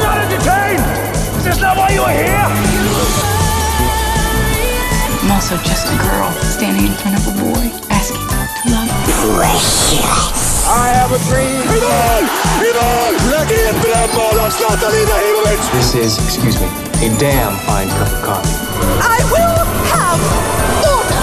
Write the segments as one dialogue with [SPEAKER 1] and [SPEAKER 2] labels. [SPEAKER 1] entertained. Is this not why you're here?
[SPEAKER 2] I'm also just a girl standing in front of a boy asking to love.
[SPEAKER 1] I have a dream.
[SPEAKER 3] Idag! Idag! Raketbrännboll av Zlatan Ibrahimovic!
[SPEAKER 4] This is, excuse me, a damn fine cup of coffee.
[SPEAKER 5] I will have order.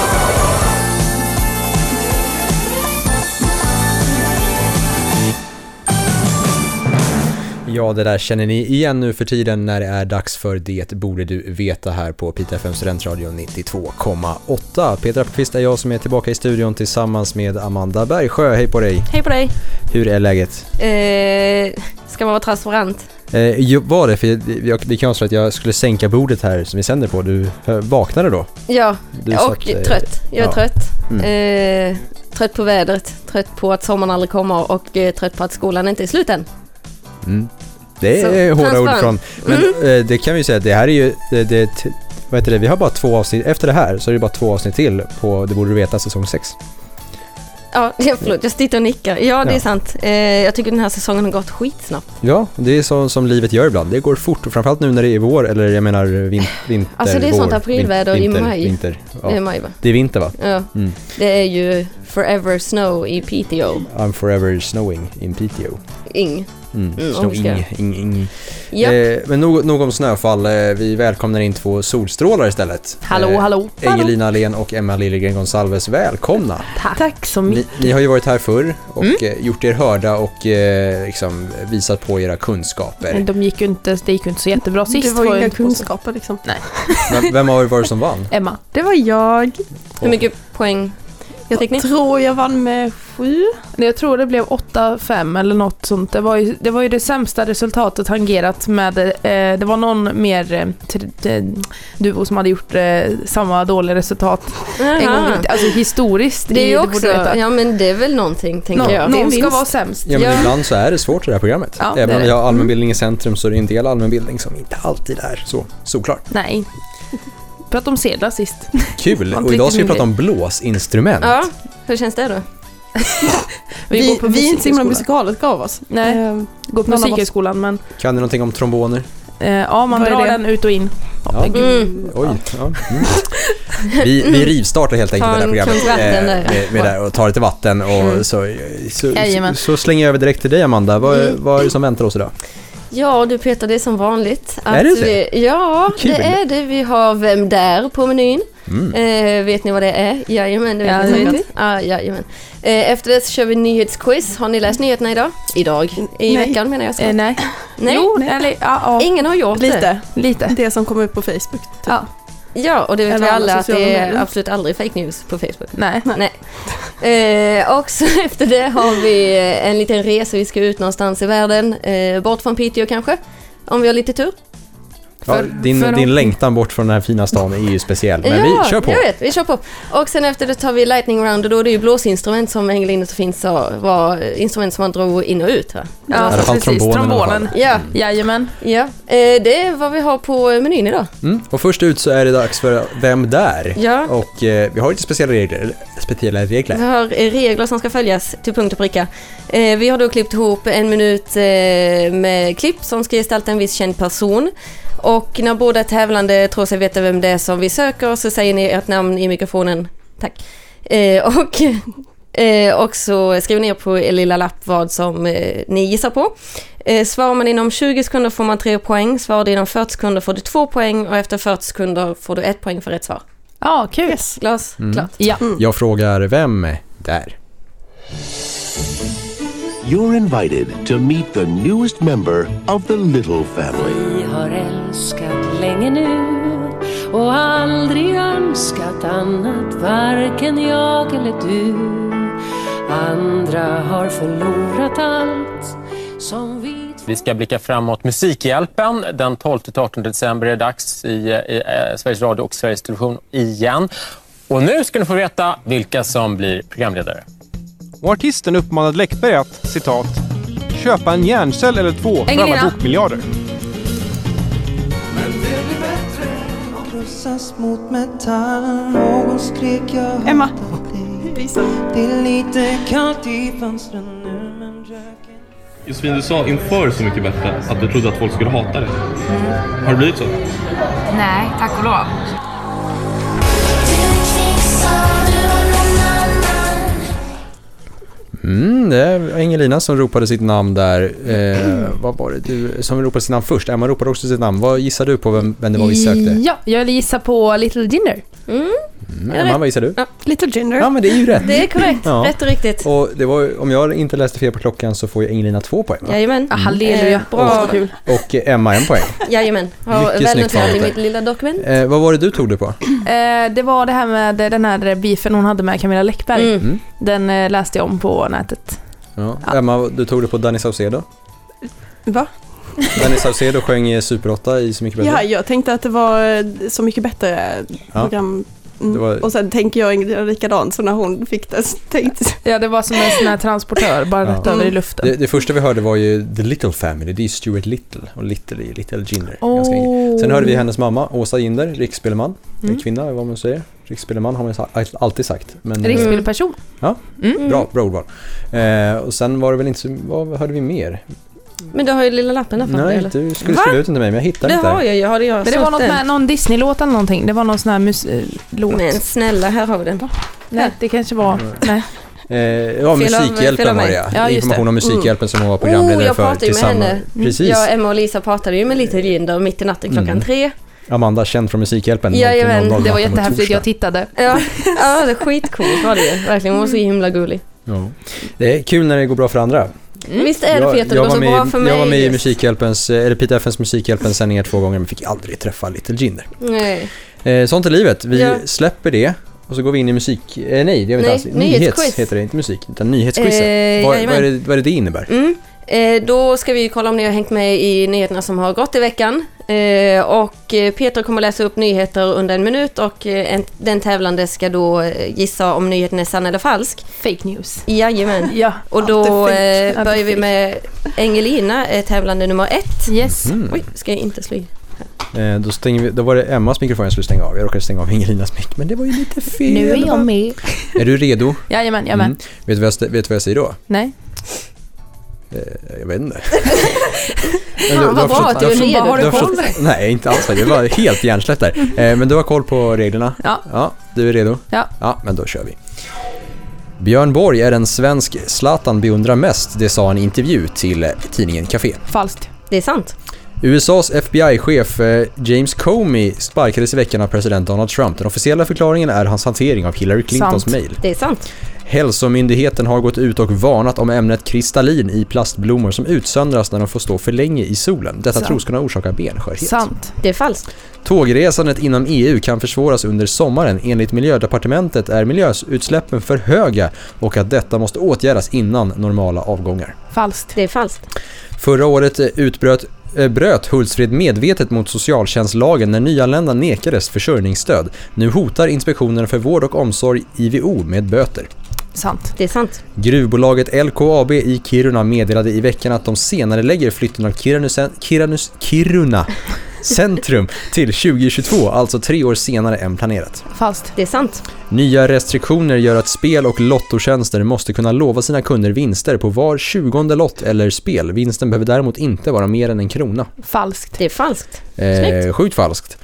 [SPEAKER 6] Ja, det där känner ni igen nu för tiden när det är dags för Det borde du veta här på Pita FM Studentradio 92,8. Peter Appelqvist är jag som är tillbaka i studion tillsammans med Amanda Bergsjö. Hej på dig!
[SPEAKER 7] Hej på dig!
[SPEAKER 6] Hur är läget?
[SPEAKER 7] Eh, ska man vara transparent?
[SPEAKER 6] Eh, jo, var det? För jag, jag, det kan vara så att jag skulle sänka bordet här som vi sänder på. Du eh, vaknade då?
[SPEAKER 7] Ja,
[SPEAKER 6] Du
[SPEAKER 7] och
[SPEAKER 6] satt, eh,
[SPEAKER 7] trött. Jag är
[SPEAKER 6] ja. Mm.
[SPEAKER 7] trött. Eh, trött på vädret, trött på att sommaren aldrig kommer och eh, trött på att skolan inte är slut än.
[SPEAKER 6] Mm. Det är
[SPEAKER 7] Så,
[SPEAKER 6] hårda ord
[SPEAKER 7] transparent. Mm.
[SPEAKER 6] från. Men eh, det kan vi ju säga, det här är ju, det, det, t- vad heter det, vi har bara två avsnitt, efter det här så är det bara två avsnitt till på Det borde du veta säsong 6.
[SPEAKER 7] Ja, förlåt, jag sitter och nickar. Ja, det
[SPEAKER 6] Ja.
[SPEAKER 7] är sant. Eh, jag tycker den här säsongen har gått skitsnabbt.
[SPEAKER 6] Ja, det är så som livet gör ibland. Det går fort och framförallt nu när det är vår eller jag menar vin, vinter.
[SPEAKER 7] Alltså, det är sånt
[SPEAKER 6] vår,
[SPEAKER 7] aprilväder i
[SPEAKER 6] vin- vinter,
[SPEAKER 7] maj. Mm.
[SPEAKER 6] Vinter,
[SPEAKER 7] Det är
[SPEAKER 6] ja.
[SPEAKER 7] maj, va?
[SPEAKER 6] Det är vinter va?
[SPEAKER 7] Ja.
[SPEAKER 6] Mm.
[SPEAKER 7] Det är ju forever snow i Piteå.
[SPEAKER 6] I'm forever snowing in Piteå.
[SPEAKER 7] Ing.
[SPEAKER 6] Mm.
[SPEAKER 7] Mm,
[SPEAKER 6] Snow,
[SPEAKER 7] och ska-
[SPEAKER 6] ing, ing, ing.
[SPEAKER 7] Ja.
[SPEAKER 6] Eh, men nog, nog om snöfall. Eh, vi välkomnar in två solstrålar istället. Eh,
[SPEAKER 7] Hallå, hallå, hallå.
[SPEAKER 6] Engelina Alén och Emma Liljegren Gonsalves, välkomna!
[SPEAKER 7] Tack.
[SPEAKER 8] så
[SPEAKER 7] Mm.
[SPEAKER 6] Ni, ni har ju varit här förr och eh, gjort er hörda och eh, liksom visat på era kunskaper.
[SPEAKER 7] Mm.
[SPEAKER 8] Men de gick ju inte, det gick ju inte så jättebra sist.
[SPEAKER 5] Det var ju inga
[SPEAKER 8] inte på så-
[SPEAKER 5] kunskaper liksom.
[SPEAKER 6] Men vem har varit som vann?
[SPEAKER 8] Emma.
[SPEAKER 5] Det var jag.
[SPEAKER 7] Hur mycket poäng?
[SPEAKER 5] Jag
[SPEAKER 7] Fick ni?
[SPEAKER 5] tror jag vann med sju.
[SPEAKER 8] Nej, Jag tror det blev 8-5 eller något sånt. Det var, ju, det var ju det sämsta resultatet tangerat med, eh, det var någon mer eh, tr- eh, duo som hade gjort eh, samma dåliga resultat en
[SPEAKER 7] Aha.
[SPEAKER 8] gång. Alltså historiskt.
[SPEAKER 7] Det är
[SPEAKER 8] i
[SPEAKER 7] ju
[SPEAKER 8] borde
[SPEAKER 7] också,
[SPEAKER 8] du veta.
[SPEAKER 7] ja men det är väl någonting tänker jag.
[SPEAKER 8] Nå,
[SPEAKER 7] Det är en
[SPEAKER 8] någon ska
[SPEAKER 7] vinst.
[SPEAKER 8] vara sämst.
[SPEAKER 6] Ja, men
[SPEAKER 7] Ja.
[SPEAKER 6] ibland så är det svårt i det här programmet.
[SPEAKER 8] Ja, det
[SPEAKER 6] Även
[SPEAKER 8] är
[SPEAKER 6] om vi
[SPEAKER 8] det.
[SPEAKER 6] har allmänbildning i centrum så är det en del allmänbildning som inte alltid är så solklar.
[SPEAKER 8] Nej. Prata om sedlar sist.
[SPEAKER 6] Kul!
[SPEAKER 8] Man
[SPEAKER 6] Och idag ska vi
[SPEAKER 8] trycker
[SPEAKER 6] prata om blåsinstrument.
[SPEAKER 7] Ja, hur känns det då?
[SPEAKER 8] Vi går
[SPEAKER 5] Vi,
[SPEAKER 8] på
[SPEAKER 5] vi är inte så himla
[SPEAKER 8] musikhögskolan.
[SPEAKER 5] musikalet gav oss.
[SPEAKER 8] Nej.
[SPEAKER 5] Eh,
[SPEAKER 8] Gå på
[SPEAKER 5] Någon av oss.
[SPEAKER 8] musikhögskolan men
[SPEAKER 6] Kan du någonting om tromboner?
[SPEAKER 8] eh, ja, man
[SPEAKER 5] Vad är
[SPEAKER 8] drar
[SPEAKER 5] det?
[SPEAKER 8] den ut och in.
[SPEAKER 6] Ja.
[SPEAKER 7] Mm.
[SPEAKER 6] Oj. Ja. Mm. Vi, vi rivstartar helt enkelt
[SPEAKER 7] Ta
[SPEAKER 6] det där
[SPEAKER 7] en
[SPEAKER 6] programmet
[SPEAKER 7] klunk vatten där.
[SPEAKER 6] eh, med, med det här och tar lite vatten och så, så, så,
[SPEAKER 8] Jajamän.
[SPEAKER 6] så slänger jag över direkt till dig Amanda. Vad, vad är det som väntar oss idag?
[SPEAKER 7] Ja du Peter, det är som vanligt.
[SPEAKER 6] Är det så?
[SPEAKER 7] vi, Ja,
[SPEAKER 6] Kul. Mm.
[SPEAKER 7] det är det. Vi har Vem där på menyn. Eh, vet ni vad det är? Jajamän, det vet
[SPEAKER 8] Ja,
[SPEAKER 7] ni
[SPEAKER 8] det vet
[SPEAKER 7] säkert. Ah, jajamän. Eh, efter det så kör vi nyhetsquiz. Har ni läst nyheterna idag? Idag? I
[SPEAKER 5] Nej.
[SPEAKER 7] veckan menar jag. Ska.
[SPEAKER 8] Eh, nej.
[SPEAKER 7] Nej,
[SPEAKER 8] Jo, eller ja, ja
[SPEAKER 7] ingen har gjort det.
[SPEAKER 5] Lite.
[SPEAKER 8] lite. typ.
[SPEAKER 5] Det som kom upp på Facebook.
[SPEAKER 8] Ja,
[SPEAKER 7] Ja, och det vet
[SPEAKER 5] Eller
[SPEAKER 7] vi
[SPEAKER 5] alla
[SPEAKER 7] alla att
[SPEAKER 5] sociala
[SPEAKER 7] det är
[SPEAKER 5] medier.
[SPEAKER 7] absolut aldrig fake news på Facebook.
[SPEAKER 8] nej.
[SPEAKER 7] Nej. Eh, och så efter det har vi eh, en liten resa. Vi ska ut någonstans i världen. Eh, bort från Piteå kanske. Om vi har lite tur.
[SPEAKER 6] Ja,
[SPEAKER 8] För-
[SPEAKER 6] din,
[SPEAKER 8] för-
[SPEAKER 6] din längtan bort från den här fina stan är ju speciell, men
[SPEAKER 7] ja,
[SPEAKER 6] vi kör på.
[SPEAKER 7] Jag vet, vi kör på. Och sen efter det tar vi lightning round och då är det ju blåsinstrument som Engelina så fint sa var instrument som man drog in och ut. Va?
[SPEAKER 6] I alla fall trombonen i alla fall.
[SPEAKER 7] Ja,
[SPEAKER 6] Mm.
[SPEAKER 8] Jajamän.
[SPEAKER 7] ja. Eh, det är vad vi har på menyn idag.
[SPEAKER 6] Mm. Och först ut så är det dags för Vem där?
[SPEAKER 7] Ja.
[SPEAKER 6] Och eh, vi har lite speciella regler. Speciella regler.
[SPEAKER 7] Vi har eh, regler som ska följas till punkt och pricka. Eh, vi har då klippt ihop en minut eh, med klipp som ska gestalta en viss känd person. Och när båda tävlande tror sig veta vem det är som vi söker så säger ni ert namn i mikrofonen. Tack. Eh, och, eh, och så skriver ni ner på er lilla lapp vad som eh, ni gissar på. Eh, svarar man inom 20 sekunder får man 3 poäng. Svarar du inom 40 sekunder får du 2 poäng och efter 40 sekunder får du 1 poäng för rätt svar.
[SPEAKER 8] Ja, kul.
[SPEAKER 7] Glas, klart.
[SPEAKER 8] Ja.
[SPEAKER 6] Jag frågar vem där?
[SPEAKER 3] You're invited to meet the newest member of the Little family.
[SPEAKER 9] Vi har älskat länge nu och aldrig önskat annat, varken jag eller du. Andra har förlorat allt som vi
[SPEAKER 10] Vi ska blicka framåt. Musikhjälpen. Den 12-18 december är det dags i, i eh, Sveriges Radio och Sveriges Television igen. Och nu ska ni få veta vilka som blir programledare.
[SPEAKER 11] Och artisten uppmanade Läckberg att, citat, köpa en hjärncell eller två för alla
[SPEAKER 8] Engelina.
[SPEAKER 11] bokmiljarder.
[SPEAKER 5] Emma.
[SPEAKER 12] Josefin, du sa inför Så mycket bättre att du trodde att folk skulle hata dig. Har det blivit så?
[SPEAKER 13] Nej, tack och lov.
[SPEAKER 6] Mm, det var Ingelina som ropade sitt namn där. Eh, vad var det du som ropade sitt namn först? Emma ropade också sitt namn. Vad gissar du på vem, vem det var vi sökte?
[SPEAKER 8] Ja, jag vill gissa på Little Ginger.
[SPEAKER 6] Mm, Emma, vad gissar du?
[SPEAKER 8] Little Ginger.
[SPEAKER 6] Ja, men det är ju rätt.
[SPEAKER 7] Det är korrekt.
[SPEAKER 6] Ja.
[SPEAKER 7] Rätt och riktigt.
[SPEAKER 6] Och det var, ju- om jag inte läste fel på klockan så får ju Ingelina två poäng. va?
[SPEAKER 7] Jajamän.
[SPEAKER 8] Ah, halleluja.
[SPEAKER 7] Eh, Bra.
[SPEAKER 6] Och, och Emma en poäng.
[SPEAKER 7] Jajamän. Har
[SPEAKER 6] Mycket
[SPEAKER 7] väl
[SPEAKER 6] snyggt
[SPEAKER 7] noterat i
[SPEAKER 6] valt.
[SPEAKER 7] mitt lilla dokument.
[SPEAKER 6] Eh, vad var det du tog det på?
[SPEAKER 8] Eh, det var det här med eh, den här beefen hon hade med Camilla Läckberg.
[SPEAKER 6] Mm. Mm.
[SPEAKER 8] Den eh, läste jag om på nätet.
[SPEAKER 6] Ja. Emma, du tog det på Danny Saucedo.
[SPEAKER 5] Va?
[SPEAKER 6] Danny Saucedo sjöng i Super 8 i Så mycket bättre.
[SPEAKER 5] Ja, jag tänkte att det var eh, Så mycket bättre
[SPEAKER 6] Ja.
[SPEAKER 5] program. Mm.
[SPEAKER 6] Det var-
[SPEAKER 5] Och sen tänker jag Ingrid likadant, så när hon fick det så tänkte
[SPEAKER 8] Ja, det var som en sån här transportör, bara
[SPEAKER 6] Ja.
[SPEAKER 8] rätt över i luften.
[SPEAKER 6] Det, det första vi hörde var ju The Little Family, det är ju Stuart Little och Little är ju Little Ginger. ganska enkelt.
[SPEAKER 8] Åh.
[SPEAKER 6] Sen hörde vi hennes mamma, Åsa Ginder, riksspelman.
[SPEAKER 8] Mm.
[SPEAKER 6] En kvinna, vad man säger. Riksspelman har man ju sa- alltid sagt. Men,
[SPEAKER 8] Riksspelperson.
[SPEAKER 6] Ja,
[SPEAKER 7] Mm.
[SPEAKER 6] bra, bra ordval. Eh, och sen var det väl inte så, vad hörde vi mer?
[SPEAKER 7] Men du har ju lilla lappen där framme.
[SPEAKER 6] Nej,
[SPEAKER 7] eller?
[SPEAKER 6] du skulle
[SPEAKER 7] Va?
[SPEAKER 6] skriva ut den till mig men jag hittade
[SPEAKER 7] Det
[SPEAKER 6] inte.
[SPEAKER 7] har jag ju. Har det jag
[SPEAKER 8] Men det var
[SPEAKER 7] snott
[SPEAKER 8] något
[SPEAKER 7] den?
[SPEAKER 8] med någon Disney-låt eller någonting. Det var någon sån här mus- eh, låt.
[SPEAKER 7] Men snälla, här har vi den.
[SPEAKER 8] Nej, det kanske var... Nej.
[SPEAKER 6] Eh, ja,
[SPEAKER 7] Fel av- fel av
[SPEAKER 6] Musikhjälpen var
[SPEAKER 7] mig.
[SPEAKER 6] det
[SPEAKER 7] Ja,
[SPEAKER 6] ja.
[SPEAKER 7] just
[SPEAKER 6] Information om
[SPEAKER 7] det. Mm.
[SPEAKER 6] Musikhjälpen som hon var programledare
[SPEAKER 7] oh, jag
[SPEAKER 6] för
[SPEAKER 7] pratade ju med
[SPEAKER 6] tillsammans.
[SPEAKER 7] henne. Mm.
[SPEAKER 6] Precis.
[SPEAKER 7] Jag, Emma och Lisa pratade ju med Little Ginder mitt i natten klockan
[SPEAKER 6] Mm.
[SPEAKER 7] tre.
[SPEAKER 6] Amanda, känd från Musikhjälpen. 00.00 natten mot torsdag.
[SPEAKER 8] tittade.
[SPEAKER 7] Ja, ja det är skitcoolt var det ju. Verkligen, hon var så himla gullig.
[SPEAKER 6] Ja. Det är kul när det går bra för andra.
[SPEAKER 8] Mm.
[SPEAKER 7] Visst är det Peter, det går
[SPEAKER 6] var
[SPEAKER 7] så
[SPEAKER 6] med,
[SPEAKER 7] bra för mig.
[SPEAKER 6] jag var med i Musikhjälpens, eh, eller Peter FNs Musikhjälpens sändningar två gånger men fick aldrig träffa Little Ginger.
[SPEAKER 7] Nej.
[SPEAKER 6] Eh, sånt är livet. Vi
[SPEAKER 7] Ja.
[SPEAKER 6] släpper det och så går vi in i musik... Eh, nej, det är väl
[SPEAKER 7] Nej,
[SPEAKER 6] inte alls. Nyhets
[SPEAKER 7] nyhetsquiz.
[SPEAKER 6] heter det, inte musik. Utan nyhetsquizet.
[SPEAKER 7] Eh,
[SPEAKER 6] vad,
[SPEAKER 7] jajamän.
[SPEAKER 6] vad, är det, vad är det det innebär?
[SPEAKER 7] Mm. Eh, då ska vi ju kolla om ni har hängt med i nyheterna som har gått i veckan. Eh, och eh, Peter kommer läsa upp nyheter under en minut och eh, en, den tävlande ska då eh, gissa om nyheten är sann eller falsk.
[SPEAKER 8] Fake news.
[SPEAKER 7] Jajamän.
[SPEAKER 8] Ja,
[SPEAKER 7] och
[SPEAKER 8] allt
[SPEAKER 7] då
[SPEAKER 8] är fake.
[SPEAKER 7] eh,
[SPEAKER 8] Allt är
[SPEAKER 7] börjar vi
[SPEAKER 8] fake.
[SPEAKER 7] med Engelina, eh, tävlande nummer ett.
[SPEAKER 8] Yes.
[SPEAKER 6] Mhm.
[SPEAKER 7] Oj, ska jag inte slå i?
[SPEAKER 6] Eh, då, stänger vi, då var det Emmas mikrofon jag skulle stänga av. Jag råkade stänga av Ingelinas mick, men det var ju lite fel.
[SPEAKER 8] Nu är jag
[SPEAKER 6] va?
[SPEAKER 8] med.
[SPEAKER 6] Är du redo?
[SPEAKER 8] Jajamän, jag är med.
[SPEAKER 6] Mm. Vet, du vad jag, st- vet du vad jag säger då?
[SPEAKER 8] Nej.
[SPEAKER 6] Eh, jag vet inte.
[SPEAKER 7] Fan, vad bra att du är redo. Har du koll?
[SPEAKER 6] Nej, inte alls. Det var helt hjärnsläpp där. Eh, men du har koll på reglerna?
[SPEAKER 8] Ja.
[SPEAKER 6] du är redo?
[SPEAKER 8] Ja.
[SPEAKER 6] Ja, men då kör vi. Björn Borg är den svensk Zlatan beundrar mest, det sa han i intervju till eh, tidningen Café.
[SPEAKER 8] Falskt.
[SPEAKER 7] Det är sant.
[SPEAKER 6] USAs FBI-chef eh, James Comey sparkades i veckan av president Donald Trump. Den officiella förklaringen är hans hantering av Hillary Clintons
[SPEAKER 7] Sant.
[SPEAKER 6] mejl.
[SPEAKER 7] Det är sant.
[SPEAKER 6] Hälsomyndigheten har gått ut och varnat om ämnet kristallin i plastblommor som utsöndras när de får stå för länge i solen. Detta
[SPEAKER 7] Sant.
[SPEAKER 6] tros kunna orsaka benskörhet.
[SPEAKER 8] Sant.
[SPEAKER 7] Det är falskt.
[SPEAKER 6] Tågresandet inom EU kan försvåras under sommaren. Enligt Miljödepartementet är miljöutsläppen för höga och att detta måste åtgärdas innan normala avgångar.
[SPEAKER 8] Falskt.
[SPEAKER 7] Det är falskt.
[SPEAKER 6] Förra året eh, utbröt eh, bröt Hultsfred medvetet mot socialtjänstlagen när nyanlända nekades försörjningsstöd. Nu hotar Inspektionen för vård och omsorg, IVO, med böter.
[SPEAKER 8] Sant.
[SPEAKER 7] Det är sant.
[SPEAKER 6] Gruvbolaget LKAB i Kiruna meddelade i veckan att de senare lägger flytten av Kirunus, Kirunus, Kiruna centrum till 2022, alltså tre år senare än planerat.
[SPEAKER 8] Falskt.
[SPEAKER 7] Det är sant.
[SPEAKER 6] Nya restriktioner gör att spel och lottotjänster måste kunna lova sina kunder vinster på var tjugonde lott eller spel. Vinsten behöver däremot inte vara mer än en krona.
[SPEAKER 8] Falskt.
[SPEAKER 7] Det är falskt.
[SPEAKER 6] Eh, sjukt falskt.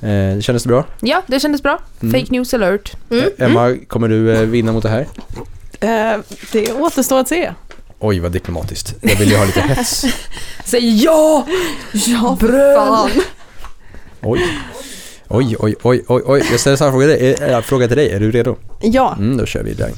[SPEAKER 6] Eh, kändes det bra?
[SPEAKER 8] Ja, det kändes bra.
[SPEAKER 6] Mm.
[SPEAKER 8] Fake news alert.
[SPEAKER 6] Emma, kommer du eh, vinna mot det här?
[SPEAKER 5] jag, eh, det återstår att se.
[SPEAKER 6] Oj, vad diplomatiskt. Jag vill ju ha lite hets.
[SPEAKER 8] Säg ja! Ja, bröd!
[SPEAKER 6] Oj. Oj, oj, oj, oj, oj. Jag ställer samma fråga till dig. Eh, eh, fråga till dig. Är du redo?
[SPEAKER 5] Ja.
[SPEAKER 6] Mm, då kör vi igång.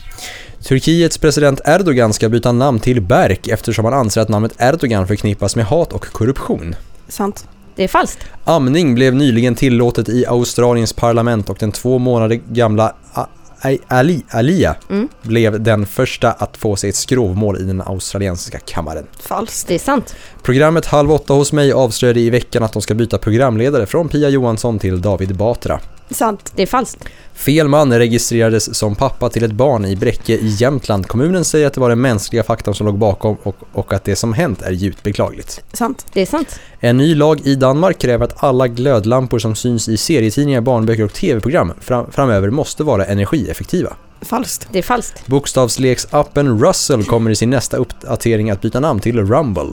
[SPEAKER 6] Turkiets president Erdogan ska byta namn till Berk eftersom han anser att namnet Erdogan förknippas med hat och korruption.
[SPEAKER 5] Sant.
[SPEAKER 7] Det är falskt.
[SPEAKER 6] Amning blev nyligen tillåtet i Australiens parlament och den två månader gamla A- A- Ali, Alia
[SPEAKER 7] Mm.
[SPEAKER 6] blev den första att få sig ett skrovmål i den australiensiska kammaren.
[SPEAKER 5] Falskt.
[SPEAKER 7] Det är sant.
[SPEAKER 6] Programmet Halv åtta hos mig avslöjade i veckan att de ska byta programledare från Pia Johansson till David Batra.
[SPEAKER 5] Sant.
[SPEAKER 7] Det är falskt.
[SPEAKER 6] Fel man registrerades som pappa till ett barn i Bräcke i Jämtland. Kommunen säger att det var den mänskliga faktorn som låg bakom och, och att det som hänt är djupt beklagligt.
[SPEAKER 5] Sant.
[SPEAKER 7] Det är sant.
[SPEAKER 6] En ny lag i Danmark kräver att alla glödlampor som syns i serietidningar, barnböcker och tv-program fram, framöver måste vara energieffektiva.
[SPEAKER 5] Falskt.
[SPEAKER 7] Det är falskt.
[SPEAKER 6] Bokstavsleksappen Russell kommer i sin nästa uppdatering att byta namn till Rumble.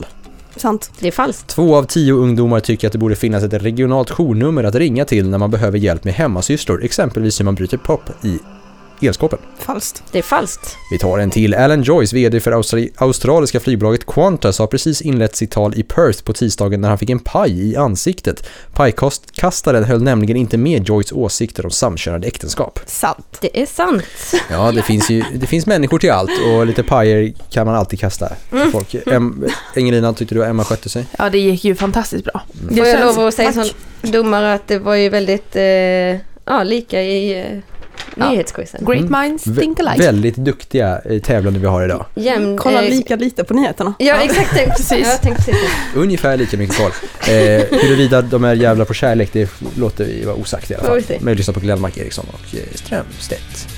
[SPEAKER 5] Sant.
[SPEAKER 7] Det är falskt.
[SPEAKER 6] Två av tio ungdomar tycker att det borde finnas ett regionalt journummer att ringa till när man behöver hjälp med hemmasysslor, exempelvis hur man bryter pop i elskåpen.
[SPEAKER 5] Falskt.
[SPEAKER 7] Det är falskt.
[SPEAKER 6] Vi tar en till. Alan Joyce, VD för Austri- australiska flygbolaget Qantas, har precis inlett sitt tal i Perth på tisdagen när han fick en paj i ansiktet. Pajkastaren höll nämligen inte med Joyces åsikter om samkönade äktenskap.
[SPEAKER 5] Sant.
[SPEAKER 7] Det är sant.
[SPEAKER 6] Ja, det finns ju det finns människor till allt och lite pajer kan man alltid kasta på
[SPEAKER 8] Mm.
[SPEAKER 6] folk. Em, Engelina, tyckte du att Emma skötte sig?
[SPEAKER 8] Ja, det gick ju fantastiskt bra. Det
[SPEAKER 7] Får jag
[SPEAKER 8] känns-
[SPEAKER 7] lov att säga
[SPEAKER 8] Tack.
[SPEAKER 7] som domare att det var ju väldigt eh, ja, lika i eh,
[SPEAKER 8] Ja.
[SPEAKER 7] nyhetsquizen.
[SPEAKER 8] Great minds
[SPEAKER 6] Vä- Väldigt duktiga eh, tävlande vi har idag.
[SPEAKER 7] Jämn,
[SPEAKER 5] Kolla
[SPEAKER 7] eh,
[SPEAKER 5] lika lite på nyheterna.
[SPEAKER 7] Ja, exakt. det.
[SPEAKER 5] Precis.
[SPEAKER 7] Ja, Jag tänkte precis det.
[SPEAKER 6] Ungefär lika mycket koll. Eh, huruvida de är jävla på kärlek, det låter vi vara osagt i alla
[SPEAKER 7] Får
[SPEAKER 6] fall.
[SPEAKER 7] vi se.
[SPEAKER 6] Men vi lyssnar på Glenmark Eriksson och eh, Strömstedt.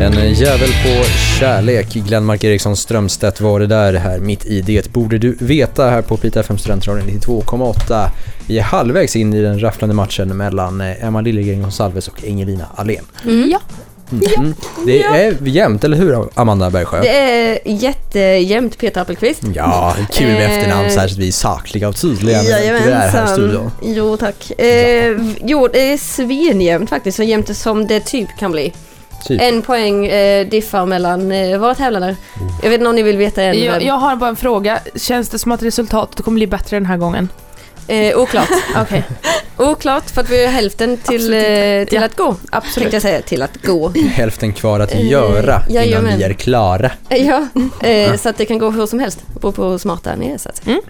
[SPEAKER 6] En jävel på kärlek. Glenmark Eriksson Strömstedt var det där här mitt i det. Borde du veta här på Pita FM Studentradion 92,8. Vi är halvvägs in i den rafflande matchen mellan eh, Emma Liljegren Gonsalves och Engelina Ahlén.
[SPEAKER 8] Ja.
[SPEAKER 6] Mm. Det är jämnt, eller hur Amanda Bergsjö?
[SPEAKER 7] Det är jättejämnt Peter Appelqvist.
[SPEAKER 6] Ja, kul med
[SPEAKER 7] Eh.
[SPEAKER 6] efternamn så här så att vi är sakliga och tydliga när vi är här i studion.
[SPEAKER 7] Jo tack. Eh, jo, det är svinjämnt faktiskt. Så jämnt som det typ kan bli.
[SPEAKER 6] Typ.
[SPEAKER 7] En poäng eh, diffar mellan eh, våra tävlande. Jag vet inte om ni vill veta än.
[SPEAKER 8] Jag,
[SPEAKER 7] vem.
[SPEAKER 8] jag har bara en fråga. Känns det som att resultatet kommer bli bättre den här gången?
[SPEAKER 7] Eh, oklart.
[SPEAKER 8] Okej.
[SPEAKER 7] Oklart för att vi har hälften till, eh, till att gå.
[SPEAKER 8] Absolut.
[SPEAKER 7] Tänkte jag säga, till att gå.
[SPEAKER 6] Hälften kvar att
[SPEAKER 7] Eh,
[SPEAKER 6] göra innan
[SPEAKER 7] jajamän.
[SPEAKER 6] vi är klara.
[SPEAKER 7] Eh, Ja, eh,
[SPEAKER 6] Ja.
[SPEAKER 7] så att det kan gå hur som helst. Beror på hur smarta ni är så att säga.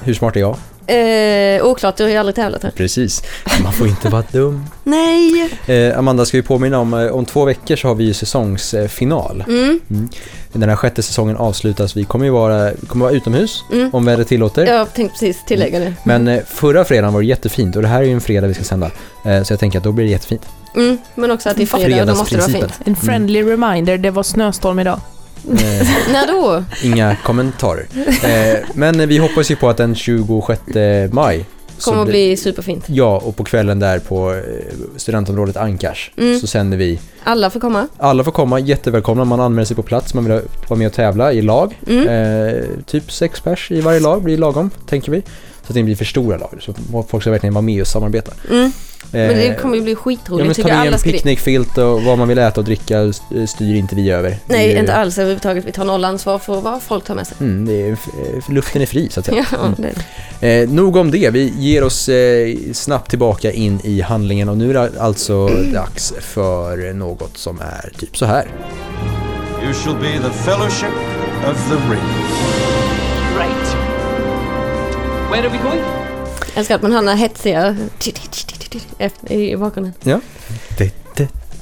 [SPEAKER 6] Hur smart är jag?
[SPEAKER 7] Eh, oklart, du har ju aldrig tävlat här.
[SPEAKER 6] Precis. Man får inte vara dum.
[SPEAKER 7] Nej!
[SPEAKER 6] Eh, Amanda, ska vi påminna om, eh, om två veckor så har vi ju säsongsfinal.
[SPEAKER 7] Mm.
[SPEAKER 6] Mm. Den här sjätte säsongen avslutas. Vi kommer ju vara, vi kommer vara utomhus
[SPEAKER 7] Mm.
[SPEAKER 6] om vädret tillåter.
[SPEAKER 7] Jag tänkte precis tillägga det.
[SPEAKER 6] Men eh, förra fredagen var det jättefint och det här är ju en fredag vi ska sända. Eh, så jag tänker att då blir det jättefint.
[SPEAKER 7] Mm, men också att det är fredag och då måste det vara fint.
[SPEAKER 6] Fredagsprincipen.
[SPEAKER 8] En friendly reminder, det var snöstorm idag.
[SPEAKER 6] Eh,
[SPEAKER 7] När då?
[SPEAKER 6] Inga kommentarer. Eh, men vi hoppas ju på att den 26 maj så
[SPEAKER 7] Kommer att
[SPEAKER 6] blir-
[SPEAKER 7] bli superfint.
[SPEAKER 6] Ja, och på kvällen där på eh, studentområdet Ankars
[SPEAKER 7] Mm.
[SPEAKER 6] så sänder vi.
[SPEAKER 7] Alla får komma.
[SPEAKER 6] Alla får komma, jättevälkomna. Man anmäler sig på plats, man vill vara med och tävla i lag.
[SPEAKER 7] Mm.
[SPEAKER 6] Eh, typ sex pers i varje lag blir lagom, tänker vi. Så att det inte blir för stora lag, så folk ska verkligen vara med och samarbeta.
[SPEAKER 7] Mm. Men det
[SPEAKER 6] Eh,
[SPEAKER 7] kommer ju bli
[SPEAKER 6] Ja,
[SPEAKER 7] skitroligt.
[SPEAKER 6] men ta
[SPEAKER 7] tycker
[SPEAKER 6] med en
[SPEAKER 7] alla ska dit.
[SPEAKER 6] picknickfilt och vad man vill äta och dricka eh, styr inte vi över. Det
[SPEAKER 7] Nej,
[SPEAKER 6] är-
[SPEAKER 7] inte alls överhuvudtaget. Vi tar noll ansvar för vad folk tar med sig.
[SPEAKER 6] Mm, det är, eh, luften är fri så att säga.
[SPEAKER 7] Ja,
[SPEAKER 6] Mm.
[SPEAKER 7] det,
[SPEAKER 6] Eh, nog om det, vi ger oss eh, snabbt tillbaka in i handlingen och nu är det alltså
[SPEAKER 7] Mm.
[SPEAKER 6] dags för något som är typ så här.
[SPEAKER 14] You shall be the Fellowship of the Ring.
[SPEAKER 1] Right. Where are we going?
[SPEAKER 7] Jag älskar att man hör den här hetsiga efter- i bakgrunden.
[SPEAKER 6] Ja. Det,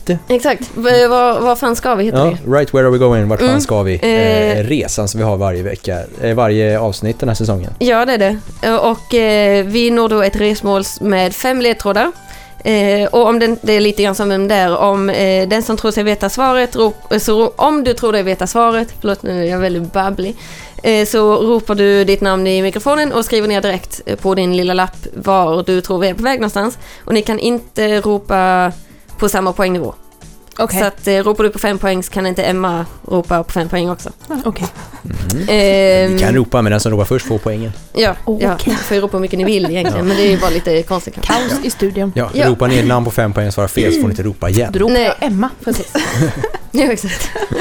[SPEAKER 6] det.
[SPEAKER 7] Exakt. V- Var, var fan ska vi heter
[SPEAKER 6] ja,
[SPEAKER 7] det?
[SPEAKER 6] right where are we going, vart fan
[SPEAKER 7] Mm,
[SPEAKER 6] ska vi?
[SPEAKER 7] eh,
[SPEAKER 6] Eh, resan som vi har varje vecka, eh, varje avsnitt den här säsongen.
[SPEAKER 7] Ja, det är det. Och eh, vi når då ett resmål med fem ledtrådar. Eh, och om den, det är lite grann som vem där, om eh, den som tror sig veta svaret, rop, eh, så ro, om du tror dig veta svaret, förlåt nu är jag väldigt babblig, eh, så ropar du ditt namn i mikrofonen och skriver ner direkt eh, på din lilla lapp var du tror vi är på väg någonstans. Och ni kan inte ropa på samma poängnivå.
[SPEAKER 8] Okej.
[SPEAKER 7] Så att eh, ropar du på fem poäng så kan inte Emma ropa på fem poäng också.
[SPEAKER 8] Okej.
[SPEAKER 7] Ehm,
[SPEAKER 6] Vi kan ropa, men den som ropar först får poängen.
[SPEAKER 7] Ja, ja, ni får ju ropa hur mycket ni vill egentligen,
[SPEAKER 6] Ja.
[SPEAKER 7] men det är ju bara lite konstigt kanske.
[SPEAKER 8] Kaos i studion.
[SPEAKER 6] Ja,
[SPEAKER 7] Ja.
[SPEAKER 6] Ropa ner namn på fem poäng, svara fel så får ni inte ropa igen.
[SPEAKER 8] Då ropar jag Emma.
[SPEAKER 7] Precis. ja, exakt.
[SPEAKER 6] Ja,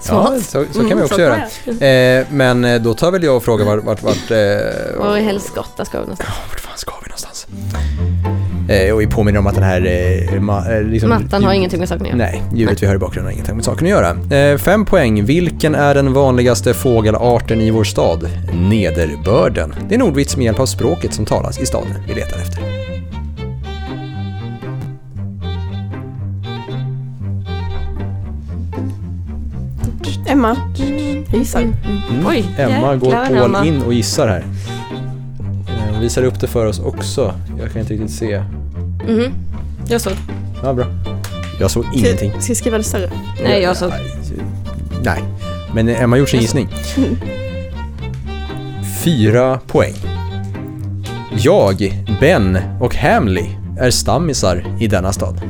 [SPEAKER 7] Smart.
[SPEAKER 6] så, så kan
[SPEAKER 7] Mm,
[SPEAKER 6] vi också
[SPEAKER 7] så
[SPEAKER 6] göra.
[SPEAKER 7] kan
[SPEAKER 6] Eh, men eh, då tar väl jag och frågar vart, vart, vart, eh,
[SPEAKER 7] Var i helskotta ska vi någonstans?
[SPEAKER 6] vart fan ska vi någonstans? Eh, och vi påminner om att den här eh, ma- eh, liksom,
[SPEAKER 7] Mattan har
[SPEAKER 6] ljud-
[SPEAKER 7] ingenting med saken att göra.
[SPEAKER 6] Nej, ljudet vi hör i bakgrunden har ingenting med saken att göra. Eh, fem poäng. Vilken är den vanligaste fågelarten i vår stad? Nederbörden. Det är en ordvits med hjälp av språket som talas i staden vi letar efter.
[SPEAKER 5] Emma. Jag gissar. Typ,
[SPEAKER 6] Mm.
[SPEAKER 5] Oj,
[SPEAKER 6] Emma går all
[SPEAKER 5] jäklar, Emma.
[SPEAKER 6] in och gissar här. Eh, Hon visar upp det för oss också. Jag kan inte riktigt se.
[SPEAKER 7] Mhm. Jag såg.
[SPEAKER 6] Ja, bra. Jag såg ingenting.
[SPEAKER 5] Ska jag skriva det större?
[SPEAKER 7] Nej, jag såg.
[SPEAKER 6] Nej, men Emma har gjort sin gissning. Fyra poäng. Jag, Ben och Hamley är stammisar i denna stad.